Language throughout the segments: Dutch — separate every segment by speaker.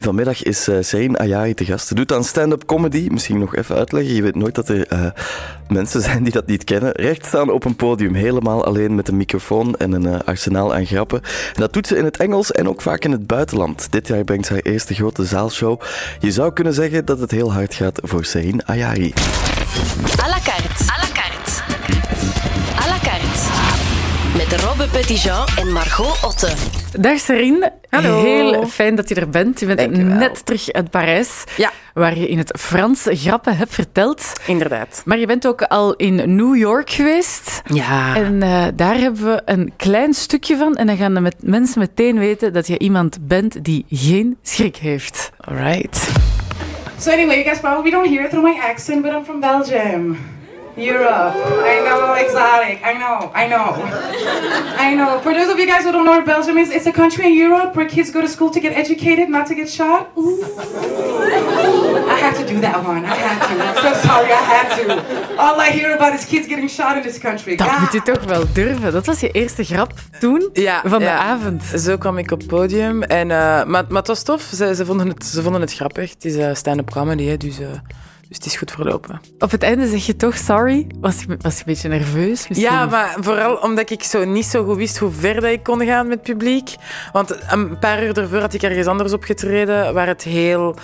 Speaker 1: Vanmiddag is eh Serene Ayari te gast. Ze doet aan stand-up comedy. Misschien nog even uitleggen. Je weet nooit dat er eh, mensen zijn die dat niet kennen. Recht staan op een podium, helemaal alleen met een microfoon en een eh, arsenaal aan grappen. En dat doet ze in het Engels en ook vaak in het buitenland. Dit jaar brengt ze haar eerste grote zaalshow. Je zou kunnen zeggen dat het heel hard gaat voor Serene Ayari.
Speaker 2: À la carte. À la carte. À la carte. Met Robbe Petitjean en Margot Otte.
Speaker 3: Dag Serine.
Speaker 4: Hallo.
Speaker 3: Heel fijn dat je er bent. Je bent
Speaker 4: Dankjewel.
Speaker 3: net terug uit Parijs,
Speaker 4: Ja.
Speaker 3: waar je in het Frans grappen hebt verteld.
Speaker 4: Inderdaad.
Speaker 3: Maar je bent ook al in New York geweest.
Speaker 4: Ja.
Speaker 3: En eh, daar hebben we een klein stukje van. En dan gaan de met mensen meteen weten dat je iemand bent die geen schrik heeft.
Speaker 4: Alright.
Speaker 5: So anyway, you guys probably don't hear it through my accent, but I'm from Belgium. Europe. I know, exotic. I know, I know. I know. For those of you guys who don't know what Belgium is, it's a country in Europe where kids go to school to get educated, not to get shot. Ooh. I had to do that one. I had to. I'm so sorry, I had to. All I hear about is kids getting shot in this country.
Speaker 3: Dat
Speaker 5: God.
Speaker 3: moet je toch wel durven. Dat was je eerste grap toen
Speaker 4: Ja,
Speaker 3: van de
Speaker 4: ja.
Speaker 3: avond.
Speaker 4: Zo kwam ik op het podium. En, eh, maar, maar het was tof. Ze, ze, vonden, het, ze vonden het grappig. Het is eh, stand-up comedy, hè, dus, eh, dus het is goed verlopen.
Speaker 3: Op het einde zeg je toch sorry. Was je, was je een beetje nerveus misschien?
Speaker 4: Ja, maar vooral omdat ik zo niet zo goed wist hoe ver dat ik kon gaan met het publiek. Want eh, een paar uur daarvoor had ik ergens anders opgetreden waar het heel.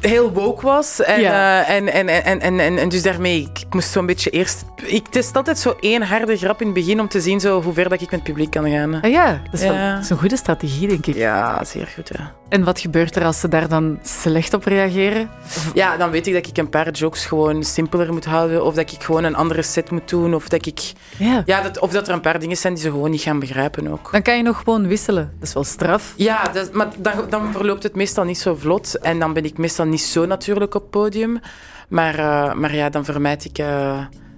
Speaker 4: Heel woke was. En,
Speaker 3: Ja.
Speaker 4: eh, en, en, en, en, en, en, en dus daarmee, ik, ik moest zo'n beetje eerst. Ik test altijd zo één harde grap in het begin om te zien zo hoe ver dat ik met het publiek kan gaan.
Speaker 3: Ah ja, dat is, wel-
Speaker 4: Ja.
Speaker 3: dat is een goede strategie, denk ik.
Speaker 4: Ja, zeer goed. Ja.
Speaker 3: En wat gebeurt er als ze daar dan slecht op reageren?
Speaker 4: ja, dan weet ik dat ik een paar jokes gewoon simpeler moet houden. Of dat ik gewoon een andere set moet doen. Of dat, ik,
Speaker 3: Ja.
Speaker 4: ja, dat, of dat er een paar dingen zijn die ze gewoon niet gaan begrijpen ook.
Speaker 3: Dan kan je nog gewoon wisselen. Dat is wel straf.
Speaker 4: Ja, dat- maar dan, dan verloopt het meestal niet zo vlot. En dan ben ik meestal niet zo natuurlijk op het podium. Maar, eh, maar ja, dan vermijd ik, eh,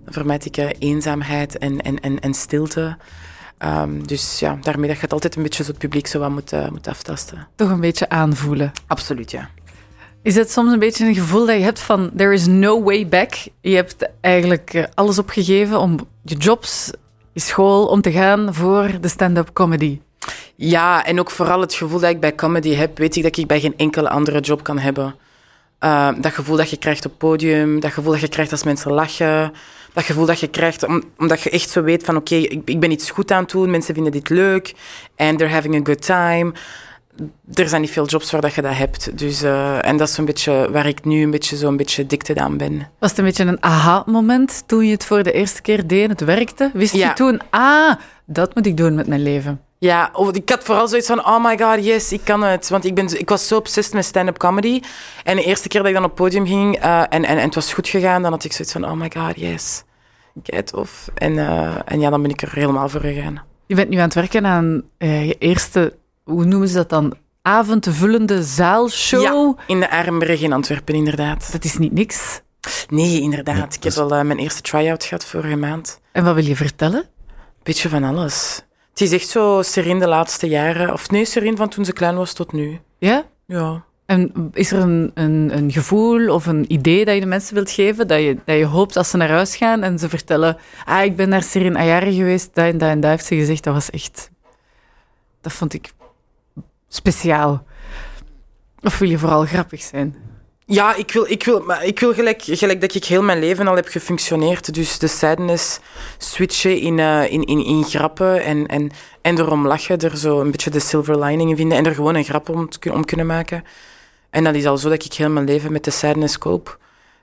Speaker 4: dan vermijd ik eh, eenzaamheid en, en, en, en stilte. Ehm, dus ja, daarmee dat je het altijd een beetje zo het publiek zo wat moet, eh, moet aftasten.
Speaker 3: Toch een beetje aanvoelen.
Speaker 4: Absoluut, ja.
Speaker 3: Is het soms een beetje een gevoel dat je hebt van there is no way back? Je hebt eigenlijk eh, alles opgegeven om je jobs, je school, om te gaan voor de stand-up comedy.
Speaker 4: Ja, en ook vooral het gevoel dat ik bij comedy heb, weet ik dat ik bij geen enkele andere job kan hebben. Eh, dat gevoel dat je krijgt op het podium, dat gevoel dat je krijgt als mensen lachen, dat gevoel dat je krijgt om- omdat je echt zo weet van oké, ik, ik ben iets goed aan het doen, mensen vinden dit leuk en they're having a good time. Er zijn niet veel jobs waar dat je dat hebt. Dus, eh, en dat is zo'n beetje waar ik nu een beetje zo'n beetje dikte aan ben.
Speaker 3: Was het een beetje een aha-moment toen je het voor de eerste keer deed en het werkte? Wist je
Speaker 4: Ja.
Speaker 3: toen, ah, dat moet ik doen met mijn leven?
Speaker 4: Ja, oh, ik had vooral zoiets van, oh my god, yes, ik kan het. Want ik, ben, ik was zo obsessed met stand-up comedy. En de eerste keer dat ik dan op het podium ging eh, en, en, en het was goed gegaan, dan had ik zoiets van, oh my god, yes. Get off. En, eh, en ja, dan ben ik er helemaal voor gegaan.
Speaker 3: Je bent nu aan het werken aan eh, je eerste, hoe noemen ze dat dan? Avondvullende zaalshow.
Speaker 4: Ja, in de Armbrug in Antwerpen, inderdaad.
Speaker 3: Dat is niet niks.
Speaker 4: Nee, inderdaad. Ik heb al eh, mijn eerste try-out gehad vorige maand.
Speaker 3: En wat wil je vertellen?
Speaker 4: Beetje van alles. Het is echt zo Serene de laatste jaren. Of nee, Serene van toen ze klein was tot nu.
Speaker 3: Ja?
Speaker 4: Ja.
Speaker 3: En is er een, een, een gevoel of een idee dat je de mensen wilt geven? Dat je, dat je hoopt als ze naar huis gaan en ze vertellen... Ah, ik ben naar Serin Ayari geweest, dat en dat en dat heeft ze gezegd. Dat was echt... Dat vond ik speciaal. Of wil je vooral grappig zijn?
Speaker 4: Ja, ik wil, ik wil, maar ik wil gelijk, gelijk dat ik heel mijn leven al heb gefunctioneerd. Dus de sadness switchen in, eh, in, in, in grappen en, en, en erom lachen. Er zo een beetje de silver lining in vinden en er gewoon een grap om, te, kun- om kunnen maken. En dat is al zo dat ik heel mijn leven met de sadness koop.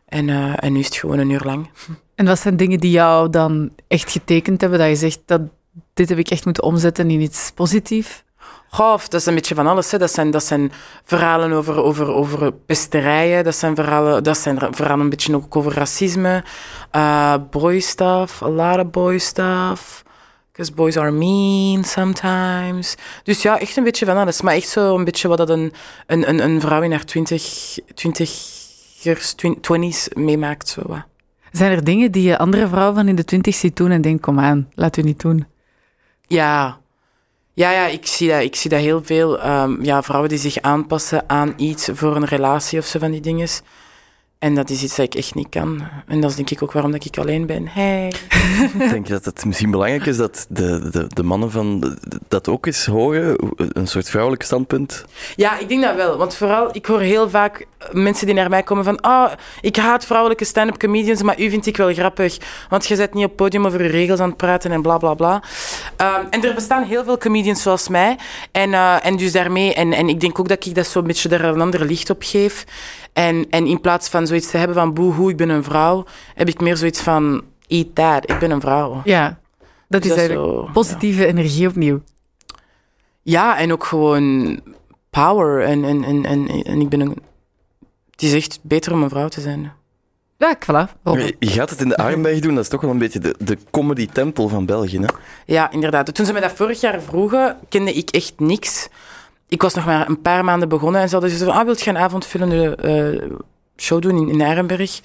Speaker 4: En, eh, en nu is het gewoon een uur lang.
Speaker 3: En wat zijn dingen die jou dan echt getekend hebben? Dat je zegt, dat, dit heb ik echt moeten omzetten in iets positiefs?
Speaker 4: Goh, of dat is een beetje van alles. Hè. Dat, zijn, dat zijn verhalen over, over, over pesterijen. Dat zijn verhalen, dat zijn ra- verhalen een beetje ook over racisme. Eh boy stuff, a lot of boy stuff. Because boys are mean sometimes. Dus ja, echt een beetje van alles. Maar echt zo een beetje wat dat een, een, een, een vrouw in haar twintig, twintigers, twin- twenties meemaakt. Zo. wat.
Speaker 3: Zijn er dingen die je andere vrouwen van in de twintig ziet doen en denkt, kom aan, laat u niet doen?
Speaker 4: Ja. Ja, ja, ik zie dat, ik zie dat heel veel. Ehm, ja, vrouwen die zich aanpassen aan iets voor een relatie of zo van die dingen. En dat is iets dat ik echt niet kan. En dat is denk ik ook waarom dat ik alleen ben. Hey.
Speaker 1: Ik denk dat het misschien belangrijk is dat de, de, de mannen van de- de- dat ook eens horen, een soort vrouwelijk standpunt.
Speaker 4: Ja, ik denk dat wel. Want vooral, ik hoor heel vaak mensen die naar mij komen van ah, ik haat vrouwelijke stand-up comedians, maar u vind ik wel grappig. Want je zit niet op het podium over uw regels aan het praten en bla bla bla. Ehm, en er bestaan heel veel comedians zoals mij. En, eh, en dus daarmee, en, en ik denk ook dat ik dat zo'n beetje daar een ander licht op geef. En, en in plaats van zoiets te hebben van boehoe, ik ben een vrouw, heb ik meer zoiets van eat that, ik ben een vrouw.
Speaker 3: Ja, dat is
Speaker 4: Dat is
Speaker 3: eigenlijk
Speaker 4: zo, ja.
Speaker 3: positieve energie opnieuw.
Speaker 4: Ja, en ook gewoon power. En, en, en, en, en ik ben een... Het is echt beter om een vrouw te zijn.
Speaker 3: Ja, ik- voilà. Rob.
Speaker 1: Je gaat het in de Armberg doen, dat is toch wel een beetje de, de comedy-tempel van België. Hè?
Speaker 4: Ja, inderdaad. Toen ze me dat vorig jaar vroegen, kende ik echt niks. Ik was nog maar een paar maanden begonnen en ze hadden zoiets van, ah, wilt je een avondvullende eh, show doen in, in Arenberg?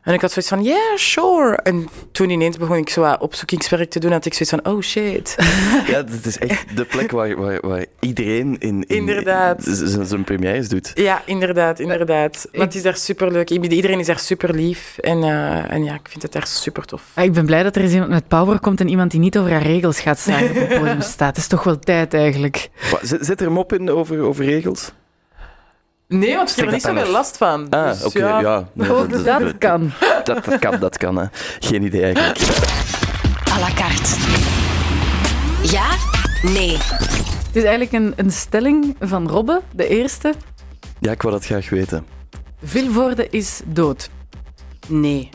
Speaker 4: En ik had zoiets van, yeah, sure. En toen ineens begon ik zo wat opzoekingswerk te doen, had ik zoiets van, oh shit.
Speaker 1: Ja, dit is echt de plek waar, waar, waar iedereen in, in
Speaker 4: Inderdaad.
Speaker 1: z- z- zijn premières doet.
Speaker 4: Ja, inderdaad, inderdaad. Want het is daar superleuk. Ik bedoel, Iedereen is daar super lief. En, eh, en ja, ik vind het daar super tof.
Speaker 3: Ja, Ah, ik ben blij dat er eens iemand met power komt en iemand die niet over haar regels gaat staan op het podium staat. Het is toch wel tijd eigenlijk.
Speaker 1: Wa- Zit, zit er een mop in over, over regels?
Speaker 4: Nee, want ik heb er
Speaker 1: dat
Speaker 4: niet
Speaker 1: dan
Speaker 4: zoveel
Speaker 1: nog.
Speaker 4: last van.
Speaker 1: Ah,
Speaker 4: Dus
Speaker 1: oké, ja. Nee,
Speaker 3: Ook dat kan.
Speaker 1: Dat, dat kan, dat kan. Hè. Geen idee eigenlijk.
Speaker 2: à la carte. Ja, nee.
Speaker 3: Het is eigenlijk een, een stelling van Robbe, de eerste.
Speaker 1: Ja, ik wou dat graag weten.
Speaker 3: Vilvoorde is dood.
Speaker 4: Nee.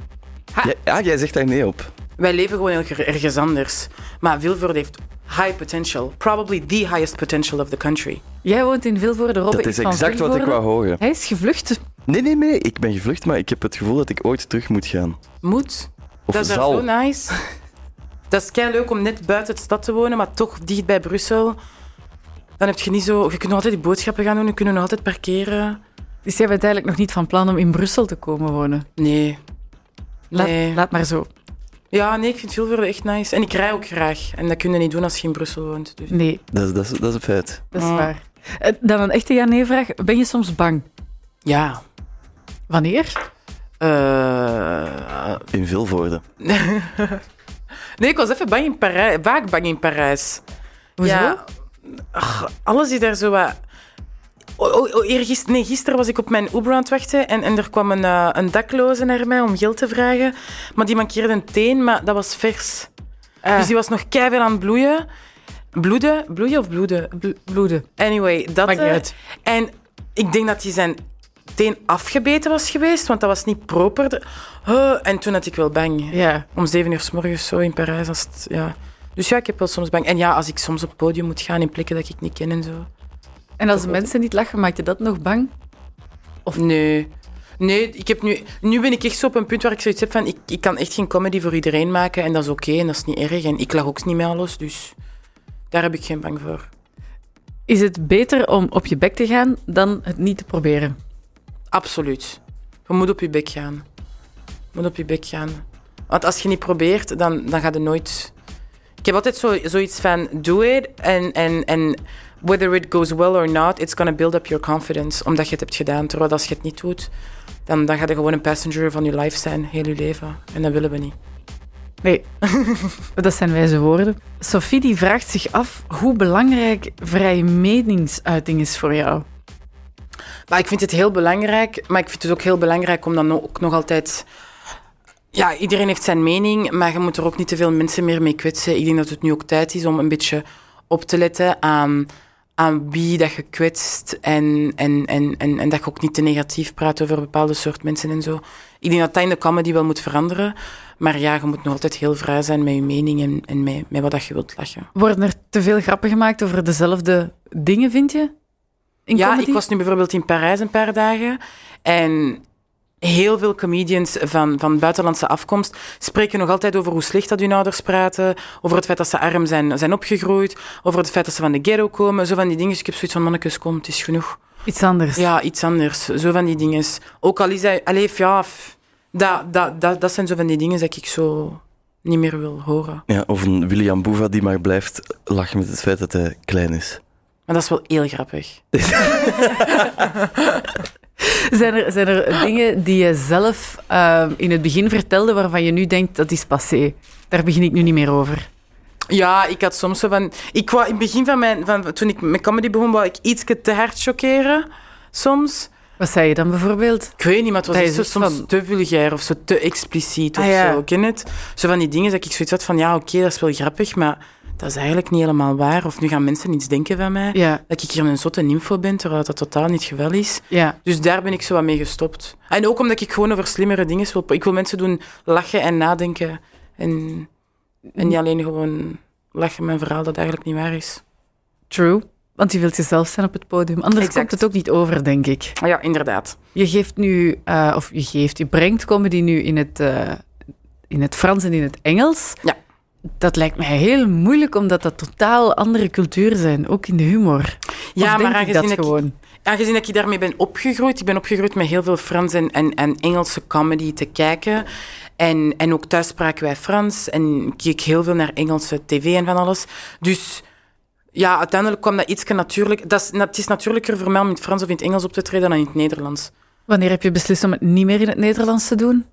Speaker 1: Ja, ah, jij zegt daar nee op.
Speaker 4: Wij leven gewoon elke- ergens anders. Maar Vilvoorde heeft high potential. Probably the highest potential of the country.
Speaker 3: Jij woont in Vilvoorde, Robbe
Speaker 1: Dat is
Speaker 3: van
Speaker 1: exact wat ik
Speaker 3: Vilvoorde.
Speaker 1: wou horen.
Speaker 3: Hij is gevlucht.
Speaker 1: Nee, nee, nee. Ik ben gevlucht, maar ik heb het gevoel dat ik ooit terug moet gaan.
Speaker 4: Moet.
Speaker 1: Of
Speaker 4: dat is daar
Speaker 1: zal.
Speaker 4: zo nice. Dat is kei leuk om net buiten de stad te wonen, maar toch dicht bij Brussel. Dan heb je niet zo... Je kunt nog altijd die boodschappen gaan doen, je kunt nog altijd parkeren.
Speaker 3: Dus jij bent eigenlijk nog niet van plan om in Brussel te komen wonen.
Speaker 4: Nee.
Speaker 3: Laat,
Speaker 4: Nee.
Speaker 3: laat maar zo.
Speaker 4: Ja, nee, ik vind Vilvoorde echt nice. En ik rij ook graag. En dat kun je niet doen als je in Brussel woont. Dus.
Speaker 3: Nee,
Speaker 1: Dat is, dat is, dat is een feit.
Speaker 3: dat
Speaker 4: Oh.
Speaker 3: is waar. Eh, Dan een echte ja-nee-vraag. Ben je soms bang?
Speaker 4: Ja.
Speaker 3: Wanneer?
Speaker 4: Eh,
Speaker 1: In veel woorden.
Speaker 4: Nee, ik was even bang in Parij- vaak bang in Parijs.
Speaker 3: Hoezo?
Speaker 4: Ach, alles is daar zo wat... O, o, o, eergis- nee, gisteren was ik op mijn Uber aan het wachten en, en er kwam een, eh, een dakloze naar mij om geld te vragen. Maar die mankeerde een teen, maar dat was vers.
Speaker 3: Ah.
Speaker 4: Dus die was nog keihard aan het bloeien. Bloeden? Bloeien of bloeden?
Speaker 3: Bl- bloeden.
Speaker 4: Anyway, dat...
Speaker 3: Maakt niet
Speaker 4: eh,
Speaker 3: uit.
Speaker 4: En ik denk dat hij zijn teen afgebeten was geweest, want dat was niet proper. De- Huh, en toen had ik wel bang.
Speaker 3: Ja.
Speaker 4: Om zeven uur s morgens zo in Parijs. Als het, ja. Dus ja, ik heb wel soms bang. En ja, als ik soms op het podium moet gaan in plekken dat ik niet ken en zo.
Speaker 3: En als de mensen niet lachen, maakt je dat nog bang?
Speaker 4: Of nee. Nee, ik heb nu, nu ben ik echt zo op een punt waar ik zoiets heb van... Ik, ik kan echt geen comedy voor iedereen maken en dat is oké en dat is niet erg. En ik lag ook niet met alles, dus daar heb ik geen bang voor.
Speaker 3: Is het beter om op je bek te gaan dan het niet te proberen?
Speaker 4: Absoluut. Je moet op je bek gaan. Je moet op je bek gaan. Want als je niet probeert, dan, dan gaat het nooit... Ik heb altijd zo, zoiets van, do it, en en en whether it goes well or not, it's gonna build up your confidence, omdat je het hebt gedaan. Terwijl als je het niet doet, dan, dan ga je gewoon een passenger van je life zijn, heel je leven. En dat willen we niet.
Speaker 3: Nee, dat zijn wijze woorden. Sophie die vraagt zich af hoe belangrijk vrije meningsuiting is voor jou.
Speaker 4: Maar ik vind het heel belangrijk. Maar ik vind het ook heel belangrijk om dan ook nog altijd. Ja, iedereen heeft zijn mening, maar je moet er ook niet te veel mensen meer mee kwetsen. Ik denk dat het nu ook tijd is om een beetje op te letten aan, aan wie dat je kwetst. En, en, en, en, en dat je ook niet te negatief praat over bepaalde soort mensen en zo. Ik denk dat dat in de comedy wel moet veranderen. Maar ja, je moet nog altijd heel vrij zijn met je mening en, en met, met wat dat je wilt lachen.
Speaker 3: Worden er te veel grappen gemaakt over dezelfde dingen, vind je? In
Speaker 4: ja,
Speaker 3: comedy?
Speaker 4: ik was nu bijvoorbeeld in Parijs een paar dagen. En heel veel comedians van, van buitenlandse afkomst spreken nog altijd over hoe slecht dat hun ouders praten. Over het feit dat ze arm zijn, zijn opgegroeid. Over het feit dat ze van de ghetto komen. Zo van die dingen. Dus ik heb zoiets van, mannetjes, kom, het is genoeg.
Speaker 3: Iets anders.
Speaker 4: Ja, iets anders. Zo van die dingen. Ook al is hij... Allee, ja... f- Dat, dat, dat, dat zijn zo van die dingen dat ik zo niet meer wil horen.
Speaker 1: Ja, of een William Boeva die maar blijft lachen met het feit dat hij klein is.
Speaker 4: Maar dat is wel heel grappig.
Speaker 3: Zijn er, zijn er dingen die je zelf ehm, in het begin vertelde waarvan je nu denkt dat is passé? Daar begin ik nu niet meer over.
Speaker 4: Ja, ik had soms zo van... Ik wou, in het begin van mijn... Van, toen ik met comedy begon, wou ik iets te hard chockeren. Soms. dus
Speaker 3: Wat zei je dan bijvoorbeeld?
Speaker 4: Ik weet niet, maar het was
Speaker 3: Dat
Speaker 4: echt
Speaker 3: je
Speaker 4: zo,
Speaker 3: zegt
Speaker 4: soms
Speaker 3: van-
Speaker 4: te vulgair of zo te expliciet of
Speaker 3: Ah, ja.
Speaker 4: zo. Ken je het? Zo van die dingen dat ik zoiets had van... Ja, oké, dat is wel grappig, maar dat is eigenlijk niet helemaal waar. Of nu gaan mensen iets denken van mij.
Speaker 3: Ja,
Speaker 4: Dat ik hier een zotte info ben, terwijl dat totaal niet het geval is.
Speaker 3: ja.
Speaker 4: Dus daar ben ik zo wat mee gestopt. En ook omdat ik gewoon over slimmere dingen wil... Ik wil mensen doen lachen en nadenken. En, en niet alleen gewoon lachen met een verhaal dat eigenlijk niet waar is.
Speaker 3: True. Want je wilt jezelf zijn op het podium. Anders
Speaker 4: Exact.
Speaker 3: komt het ook niet over, denk ik.
Speaker 4: Ah Ja, inderdaad.
Speaker 3: Je geeft nu, eh, of je geeft, je brengt comedy nu in het, eh, in het Frans en in het Engels.
Speaker 4: Ja.
Speaker 3: Dat lijkt mij heel moeilijk, omdat dat totaal andere culturen zijn, ook in de humor.
Speaker 4: Ja,
Speaker 3: Of denk
Speaker 4: maar
Speaker 3: ik dat
Speaker 4: aangezien ik,
Speaker 3: gewoon.
Speaker 4: aangezien dat ik daarmee ben opgegroeid, ik ben opgegroeid met heel veel Frans en, en, en Engelse comedy te kijken. En, en ook thuis spraken wij Frans en keek heel veel naar Engelse tv en van alles. Dus ja, uiteindelijk kwam dat iets natuurlijk. Dat is, na- het is natuurlijker voor mij om in het Frans of in het Engels op te treden dan in het Nederlands.
Speaker 3: Wanneer heb je beslist om het niet meer in het Nederlands te doen?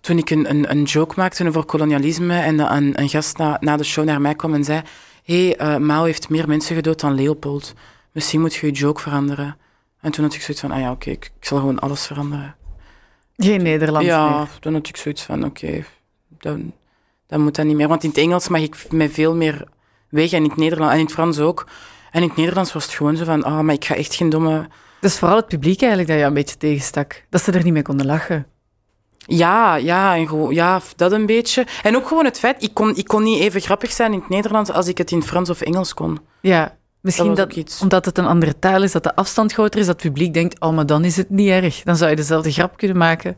Speaker 4: toen ik een, een, een joke maakte over kolonialisme en dat een, een gast na, na de show naar mij kwam en zei: Hé, hey, eh, Mao heeft meer mensen gedood dan Leopold. Misschien moet je je joke veranderen. En toen had ik zoiets van: Ah ja, oké, ik, ik zal gewoon alles veranderen.
Speaker 3: Geen Nederlands
Speaker 4: ja,
Speaker 3: meer.
Speaker 4: toen had ik zoiets van: Oké, dan, dan moet dat niet meer. Want in het Engels mag ik met veel meer weg en in het Nederlands en in het Frans ook. En in het Nederlands was het gewoon zo van: Ah, maar ik ga echt geen domme.
Speaker 3: Dus vooral het publiek eigenlijk dat je een beetje tegenstak. Dat ze er niet mee konden lachen.
Speaker 4: Ja, ja, en gewoon, ja, dat een beetje. En ook gewoon het feit, ik kon, ik kon niet even grappig zijn in het Nederlands als ik het in Frans of Engels kon.
Speaker 3: Ja, misschien
Speaker 4: Dat was
Speaker 3: dat,
Speaker 4: ook iets.
Speaker 3: omdat het een andere taal is, dat de afstand groter is, dat het publiek denkt, oh, maar dan is het niet erg. Dan zou je dezelfde grap kunnen maken.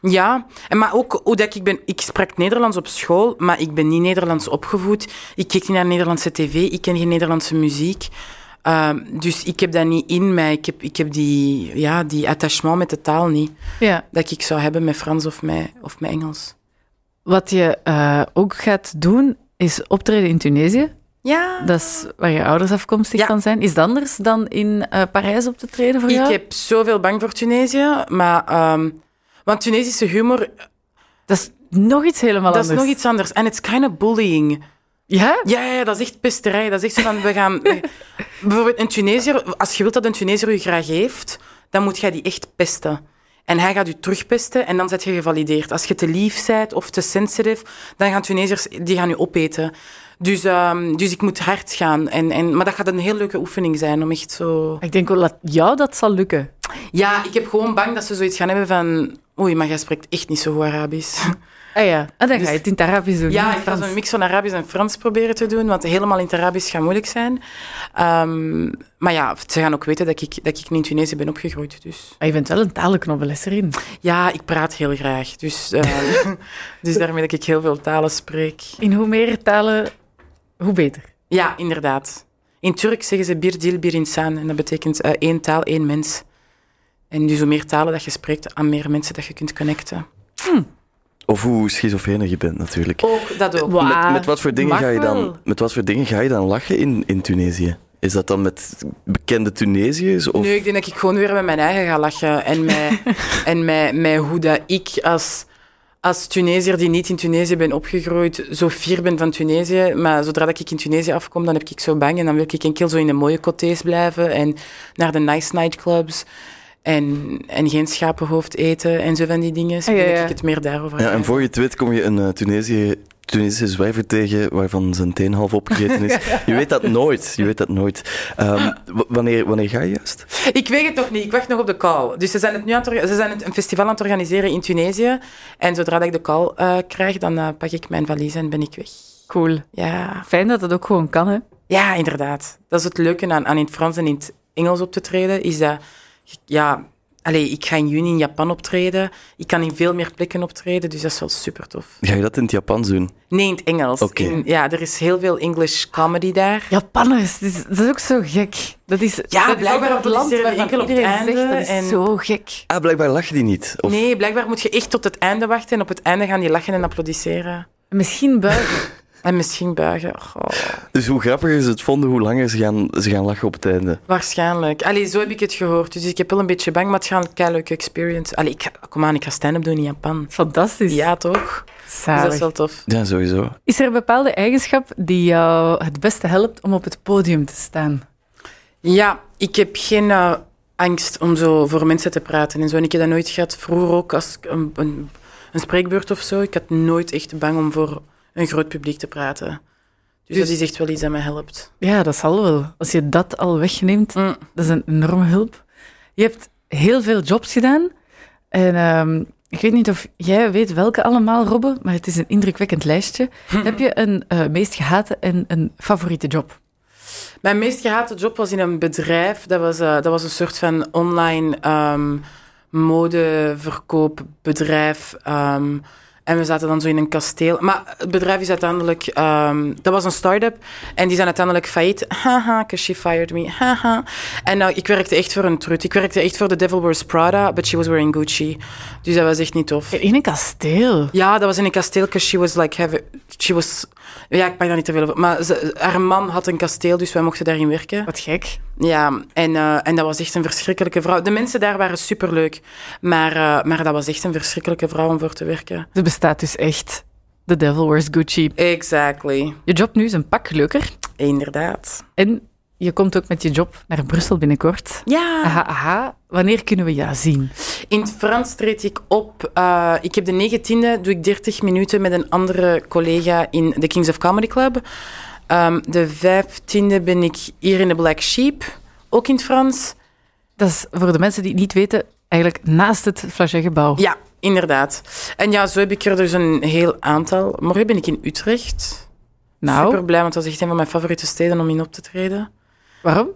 Speaker 4: Ja, en maar ook hoe dat ik ben, ik sprak Nederlands op school, maar ik ben niet Nederlands opgevoed. Ik keek niet naar Nederlandse tv, ik ken geen Nederlandse muziek. Ehm, dus ik heb dat niet in mij. Ik heb, ik heb die, ja, die attachement met de taal niet,
Speaker 3: Ja.
Speaker 4: dat ik zou hebben met Frans of met, of met Engels.
Speaker 3: Wat je eh, ook gaat doen, is optreden in Tunesië.
Speaker 4: Ja,
Speaker 3: Dat is waar je ouders afkomstig
Speaker 4: Ja.
Speaker 3: van zijn. Is het anders dan in eh, Parijs op te treden voor jou?
Speaker 4: ik heb zoveel bang voor Tunesië, maar... ehm, want Tunesische humor
Speaker 3: Dat is nog iets helemaal
Speaker 4: Dat is
Speaker 3: anders.
Speaker 4: nog iets anders. En it's kind of bullying.
Speaker 3: Ja?
Speaker 4: Ja, ja, ja, dat is echt pesterij. Dat is echt zo van, we gaan... we- bijvoorbeeld een Tunesiër, als je wilt dat een Tunesiër je graag heeft, dan moet jij die echt pesten. En hij gaat u terugpesten en dan zet je gevalideerd. Als je te lief bent of te sensitive, dan gaan Tunesiërs die gaan u opeten. Dus, ehm, dus ik moet hard gaan. En, en, maar dat gaat een heel leuke oefening zijn om echt zo...
Speaker 3: Ik denk wel dat jou dat zal lukken.
Speaker 4: Ja, ik heb gewoon bang dat ze zoiets gaan hebben van... Oei, maar jij spreekt echt niet zo goed Arabisch.
Speaker 3: Ah ja, ah, dan
Speaker 4: Dus-
Speaker 3: ga je het in het Arabisch doen.
Speaker 4: Ja,
Speaker 3: in
Speaker 4: ik ga
Speaker 3: Frans.
Speaker 4: zo'n mix van Arabisch en Frans proberen te doen, want helemaal in het Arabisch gaat moeilijk zijn. Ehm, maar ja, ze gaan ook weten dat ik, dat ik niet in Tunesië ben opgegroeid. Dus
Speaker 3: Maar Ah, je bent wel een talenknobbeles erin.
Speaker 4: ja, ik praat heel graag. Dus, ehm, dus daarmee dat ik heel veel talen spreek.
Speaker 3: In hoe meer talen, hoe beter.
Speaker 4: Ja, inderdaad. In Turk zeggen ze bir dil bir insan en dat betekent eh, één taal, één mens. En dus hoe meer talen dat je spreekt, aan meer mensen dat je kunt connecten.
Speaker 1: Of hoe schizofrenig je bent natuurlijk.
Speaker 4: Ook dat ook.
Speaker 1: Met, met, wat voor dingen
Speaker 3: mag
Speaker 1: ga je
Speaker 3: wel.
Speaker 1: dan, met wat voor dingen ga je dan lachen in, in Tunesië? Is dat dan met bekende Tunesiërs? Of...
Speaker 4: Nee, ik denk dat ik gewoon weer met mijn eigen ga lachen. En met, en met, met hoe dat ik als, als Tunesiër die niet in Tunesië ben opgegroeid, zo fier ben van Tunesië. Maar zodra dat ik in Tunesië afkom, dan heb ik zo bang. En dan wil ik enkel zo in de mooie cotés blijven en naar de nice nightclubs. En, en geen schapenhoofd eten en zo van die dingen. Dus ik
Speaker 3: Ah, ja,
Speaker 4: denk dat
Speaker 3: ja.
Speaker 4: ik het meer daarover
Speaker 1: Ja,
Speaker 4: ga.
Speaker 1: en voor je het weet kom je een eh, Tunesië, Tunesische zwijver tegen waarvan zijn teen half opgegeten is. Je weet dat nooit. Je weet dat nooit. Ehm, w- wanneer, wanneer ga je juist?
Speaker 4: Ik weet het nog niet, ik wacht nog op de call. Dus ze zijn, het nu aan het orga- ze zijn het, een festival aan het organiseren in Tunesië. En zodra dat ik de call eh, krijg, dan eh, pak ik mijn valies en ben ik weg.
Speaker 3: Cool.
Speaker 4: Ja.
Speaker 3: Fijn dat dat ook gewoon kan, hè?
Speaker 4: Ja, inderdaad. Dat is het leuke aan, aan in het Frans en in het Engels op te treden, is dat, ja, allee, ik ga in juni in Japan optreden, ik kan in veel meer plekken optreden, dus dat is wel super tof.
Speaker 1: Ga je dat in het Japans doen?
Speaker 4: Nee, in het Engels.
Speaker 1: Oké.
Speaker 4: In- ja, er is heel veel English comedy daar.
Speaker 3: Japanners, dat is, dat is ook zo gek. Dat is, dat is ook
Speaker 4: blijkbaar
Speaker 3: weer op het land
Speaker 4: produceren die
Speaker 3: waarvan
Speaker 4: enkel op het
Speaker 3: iedereen zegt,
Speaker 4: einde
Speaker 3: dat is
Speaker 4: en-
Speaker 3: zo gek.
Speaker 1: Ah, blijkbaar lachen die niet. Of
Speaker 4: Nee, blijkbaar moet je echt tot het einde wachten en op het einde gaan die lachen en applaudisseren.
Speaker 3: Misschien buigen.
Speaker 4: En misschien buigen. Oh, Goh,
Speaker 1: Dus hoe grappiger ze het vonden, hoe langer ze gaan, ze gaan lachen op het einde.
Speaker 4: waarschijnlijk. Allee, zo heb ik het gehoord. Dus ik heb wel een beetje bang, maar het gaat een keileuke experience. Allee, ik ga, kom aan, ik ga stand-up doen in Japan.
Speaker 3: Fantastisch.
Speaker 4: Ja, toch? Dus dat is wel tof.
Speaker 1: Ja, sowieso.
Speaker 3: Is er een bepaalde eigenschap die jou het beste helpt om op het podium te staan?
Speaker 4: Ja, ik heb geen eh, angst om zo voor mensen te praten en zo. En ik heb dat nooit gehad. Vroeger ook, als ik een, een, een spreekbeurt of zo. Ik had nooit echt bang om voor een groot publiek te praten. Dus, dat is echt wel iets dat mij helpt.
Speaker 3: Ja, dat zal wel. Als je dat al wegneemt,
Speaker 4: Mm.
Speaker 3: dat is een enorme hulp. Je hebt heel veel jobs gedaan. En ehm, ik weet niet of jij weet welke allemaal, Robbe, maar het is een indrukwekkend lijstje. Heb je een eh, meest gehate en een favoriete job?
Speaker 4: Mijn meest gehate job was in een bedrijf. Dat was, eh, dat was een soort van online ehm modeverkoopbedrijf. ehm, en we zaten dan zo in een kasteel. Maar het bedrijf is uiteindelijk... ehm, dat was een start-up. En die zijn uiteindelijk failliet. Haha, because she fired me. Haha. En nou, ik werkte echt voor een trut. Ik werkte echt voor The Devil Wears Prada, but she was wearing Gucci. Dus dat was echt niet tof.
Speaker 3: In een kasteel.
Speaker 4: Ja, dat was in een kasteel, 'cause she was like, have, she was, ja, ik mag daar niet te veel over, maar ze- haar man had een kasteel, dus wij mochten daarin werken.
Speaker 3: Wat gek.
Speaker 4: Ja, en, eh, en dat was echt een verschrikkelijke vrouw. De mensen daar waren superleuk, maar, eh, maar dat was echt een verschrikkelijke vrouw om voor te werken.
Speaker 3: Ze bestaat dus echt. The devil wears Gucci.
Speaker 4: Exactly,
Speaker 3: Je job nu is een pak leuker.
Speaker 4: inderdaad.
Speaker 3: En je komt ook met je job naar Brussel binnenkort.
Speaker 4: Ja.
Speaker 3: Aha, aha. Wanneer kunnen we jou zien?
Speaker 4: In het Frans treed ik op. eh, ik heb de 19e, doe ik 30 minuten met een andere collega in de Kings of Comedy Club. Ehm, de 15e ben ik hier in de Black Sheep, ook in het Frans.
Speaker 3: Dat is voor de mensen die het niet weten, eigenlijk naast het Flagey-gebouw.
Speaker 4: Ja, inderdaad. En ja, zo heb ik er dus een heel aantal. Morgen ben ik in Utrecht.
Speaker 3: nou,
Speaker 4: Super blij, want dat is echt een van mijn favoriete steden om in op te treden.
Speaker 3: waarom?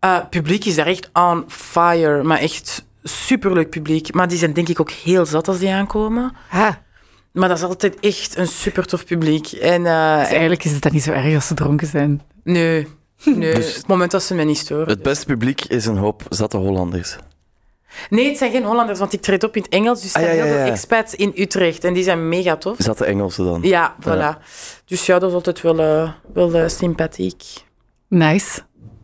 Speaker 4: Eh, het publiek is daar echt on fire, maar echt superleuk publiek. Maar die zijn denk ik ook heel zat als die aankomen.
Speaker 3: Ha,
Speaker 4: Maar dat is altijd echt een super tof publiek. En, eh,
Speaker 3: dus eigenlijk is het dan niet zo erg als ze dronken zijn.
Speaker 4: Nee. Nee, het moment dat ze mij niet storen.
Speaker 1: Het beste publiek is een hoop zatte Hollanders.
Speaker 4: Nee, het zijn geen Hollanders, want ik treed op in het Engels. Dus er
Speaker 1: Ah,
Speaker 4: zijn
Speaker 1: ja,
Speaker 4: heel
Speaker 1: ja,
Speaker 4: veel
Speaker 1: ja.
Speaker 4: expats in Utrecht. En die zijn mega tof.
Speaker 1: Zatte Engelsen dan.
Speaker 4: Ja, voilà. Dus ja, dat is altijd wel, eh, wel eh, sympathiek.
Speaker 3: Nice.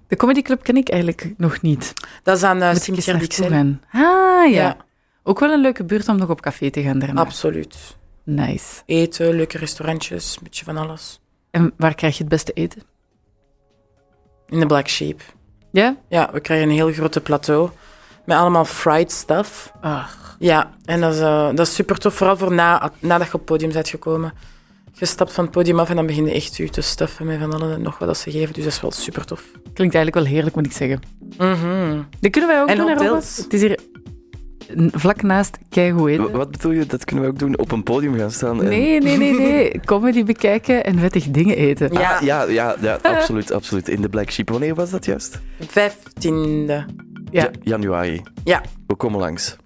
Speaker 3: De comedyclub ken ik eigenlijk nog niet.
Speaker 4: Dat is aan uh,
Speaker 3: Moet ik eens
Speaker 4: Cimetière
Speaker 3: naartoe
Speaker 4: Dixel.
Speaker 3: gaan. Ah, ja.
Speaker 4: Ja.
Speaker 3: Ook wel een leuke buurt om nog op café te gaan daarna.
Speaker 4: Absoluut.
Speaker 3: Nice.
Speaker 4: Eten, leuke restaurantjes, een beetje van alles.
Speaker 3: En waar krijg je het beste eten?
Speaker 4: In de Black Sheep.
Speaker 3: Ja?
Speaker 4: Ja, we krijgen een heel grote plateau. Met allemaal fried stuff.
Speaker 3: Ach.
Speaker 4: Ja, en dat is, eh, dat is super tof. Vooral voor na, nadat je op het podium bent gekomen. Je stapt van het podium af en dan begin je echt je te stuffen met van alles en nog wat dat ze geven. Dus dat is wel super tof.
Speaker 3: Klinkt eigenlijk wel heerlijk, moet ik zeggen.
Speaker 4: Mhm.
Speaker 3: Dat kunnen wij ook
Speaker 4: En
Speaker 3: doen, hè,
Speaker 4: hotels. Oh,
Speaker 3: Robert? Het is hier n- vlak naast Keigoed
Speaker 1: W-
Speaker 3: eten.
Speaker 1: Wat bedoel je? Dat kunnen we ook doen. Op een podium gaan staan. en-
Speaker 3: Nee, nee, nee, nee. Comedy bekijken en vettig dingen eten.
Speaker 4: Ja,
Speaker 1: Ah, ja, ja, ja absoluut, absoluut. In de Black Sheep. Wanneer was dat juist?
Speaker 4: vijftiende.
Speaker 3: Ja.
Speaker 1: Januari.
Speaker 4: Ja,
Speaker 1: We komen langs.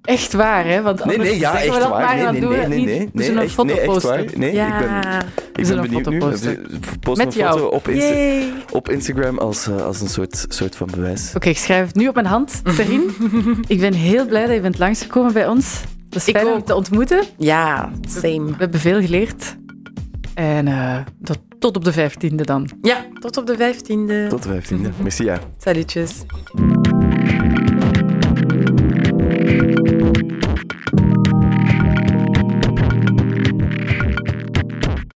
Speaker 3: Echt waar, hè? Want
Speaker 1: Nee,
Speaker 3: anders
Speaker 1: nee, ja,
Speaker 3: zeggen
Speaker 1: echt
Speaker 3: we dat
Speaker 1: waar.
Speaker 3: maar,
Speaker 1: Nee,
Speaker 3: dan
Speaker 1: nee,
Speaker 3: doen we
Speaker 1: nee,
Speaker 3: het
Speaker 1: nee,
Speaker 3: niet.
Speaker 1: nee.
Speaker 3: We
Speaker 1: nee,
Speaker 3: zullen een
Speaker 1: echt,
Speaker 3: foto
Speaker 1: nee, echt
Speaker 3: posten.
Speaker 1: waar. Nee,
Speaker 4: ja.
Speaker 1: ik ben, ik ben
Speaker 3: zullen een
Speaker 1: benieuwd
Speaker 3: foto
Speaker 1: nu.
Speaker 3: posten.
Speaker 1: Post
Speaker 3: Met
Speaker 1: een
Speaker 3: jou.
Speaker 1: foto op, Insta-
Speaker 4: Yay.
Speaker 1: op Instagram als, eh, als een soort, soort van bewijs.
Speaker 3: Oké, ik schrijf het nu op mijn hand. Serien, ik ben heel blij dat je bent langsgekomen bij ons. Dat is
Speaker 4: Ik
Speaker 3: fijn om
Speaker 4: ook.
Speaker 3: te ontmoeten.
Speaker 4: Ja, same.
Speaker 3: We hebben veel geleerd. En eh, dat, tot op de vijftiende dan.
Speaker 4: Ja, tot op de vijftiende.
Speaker 1: Tot de 15e. Merci, ja.
Speaker 4: Salutjes.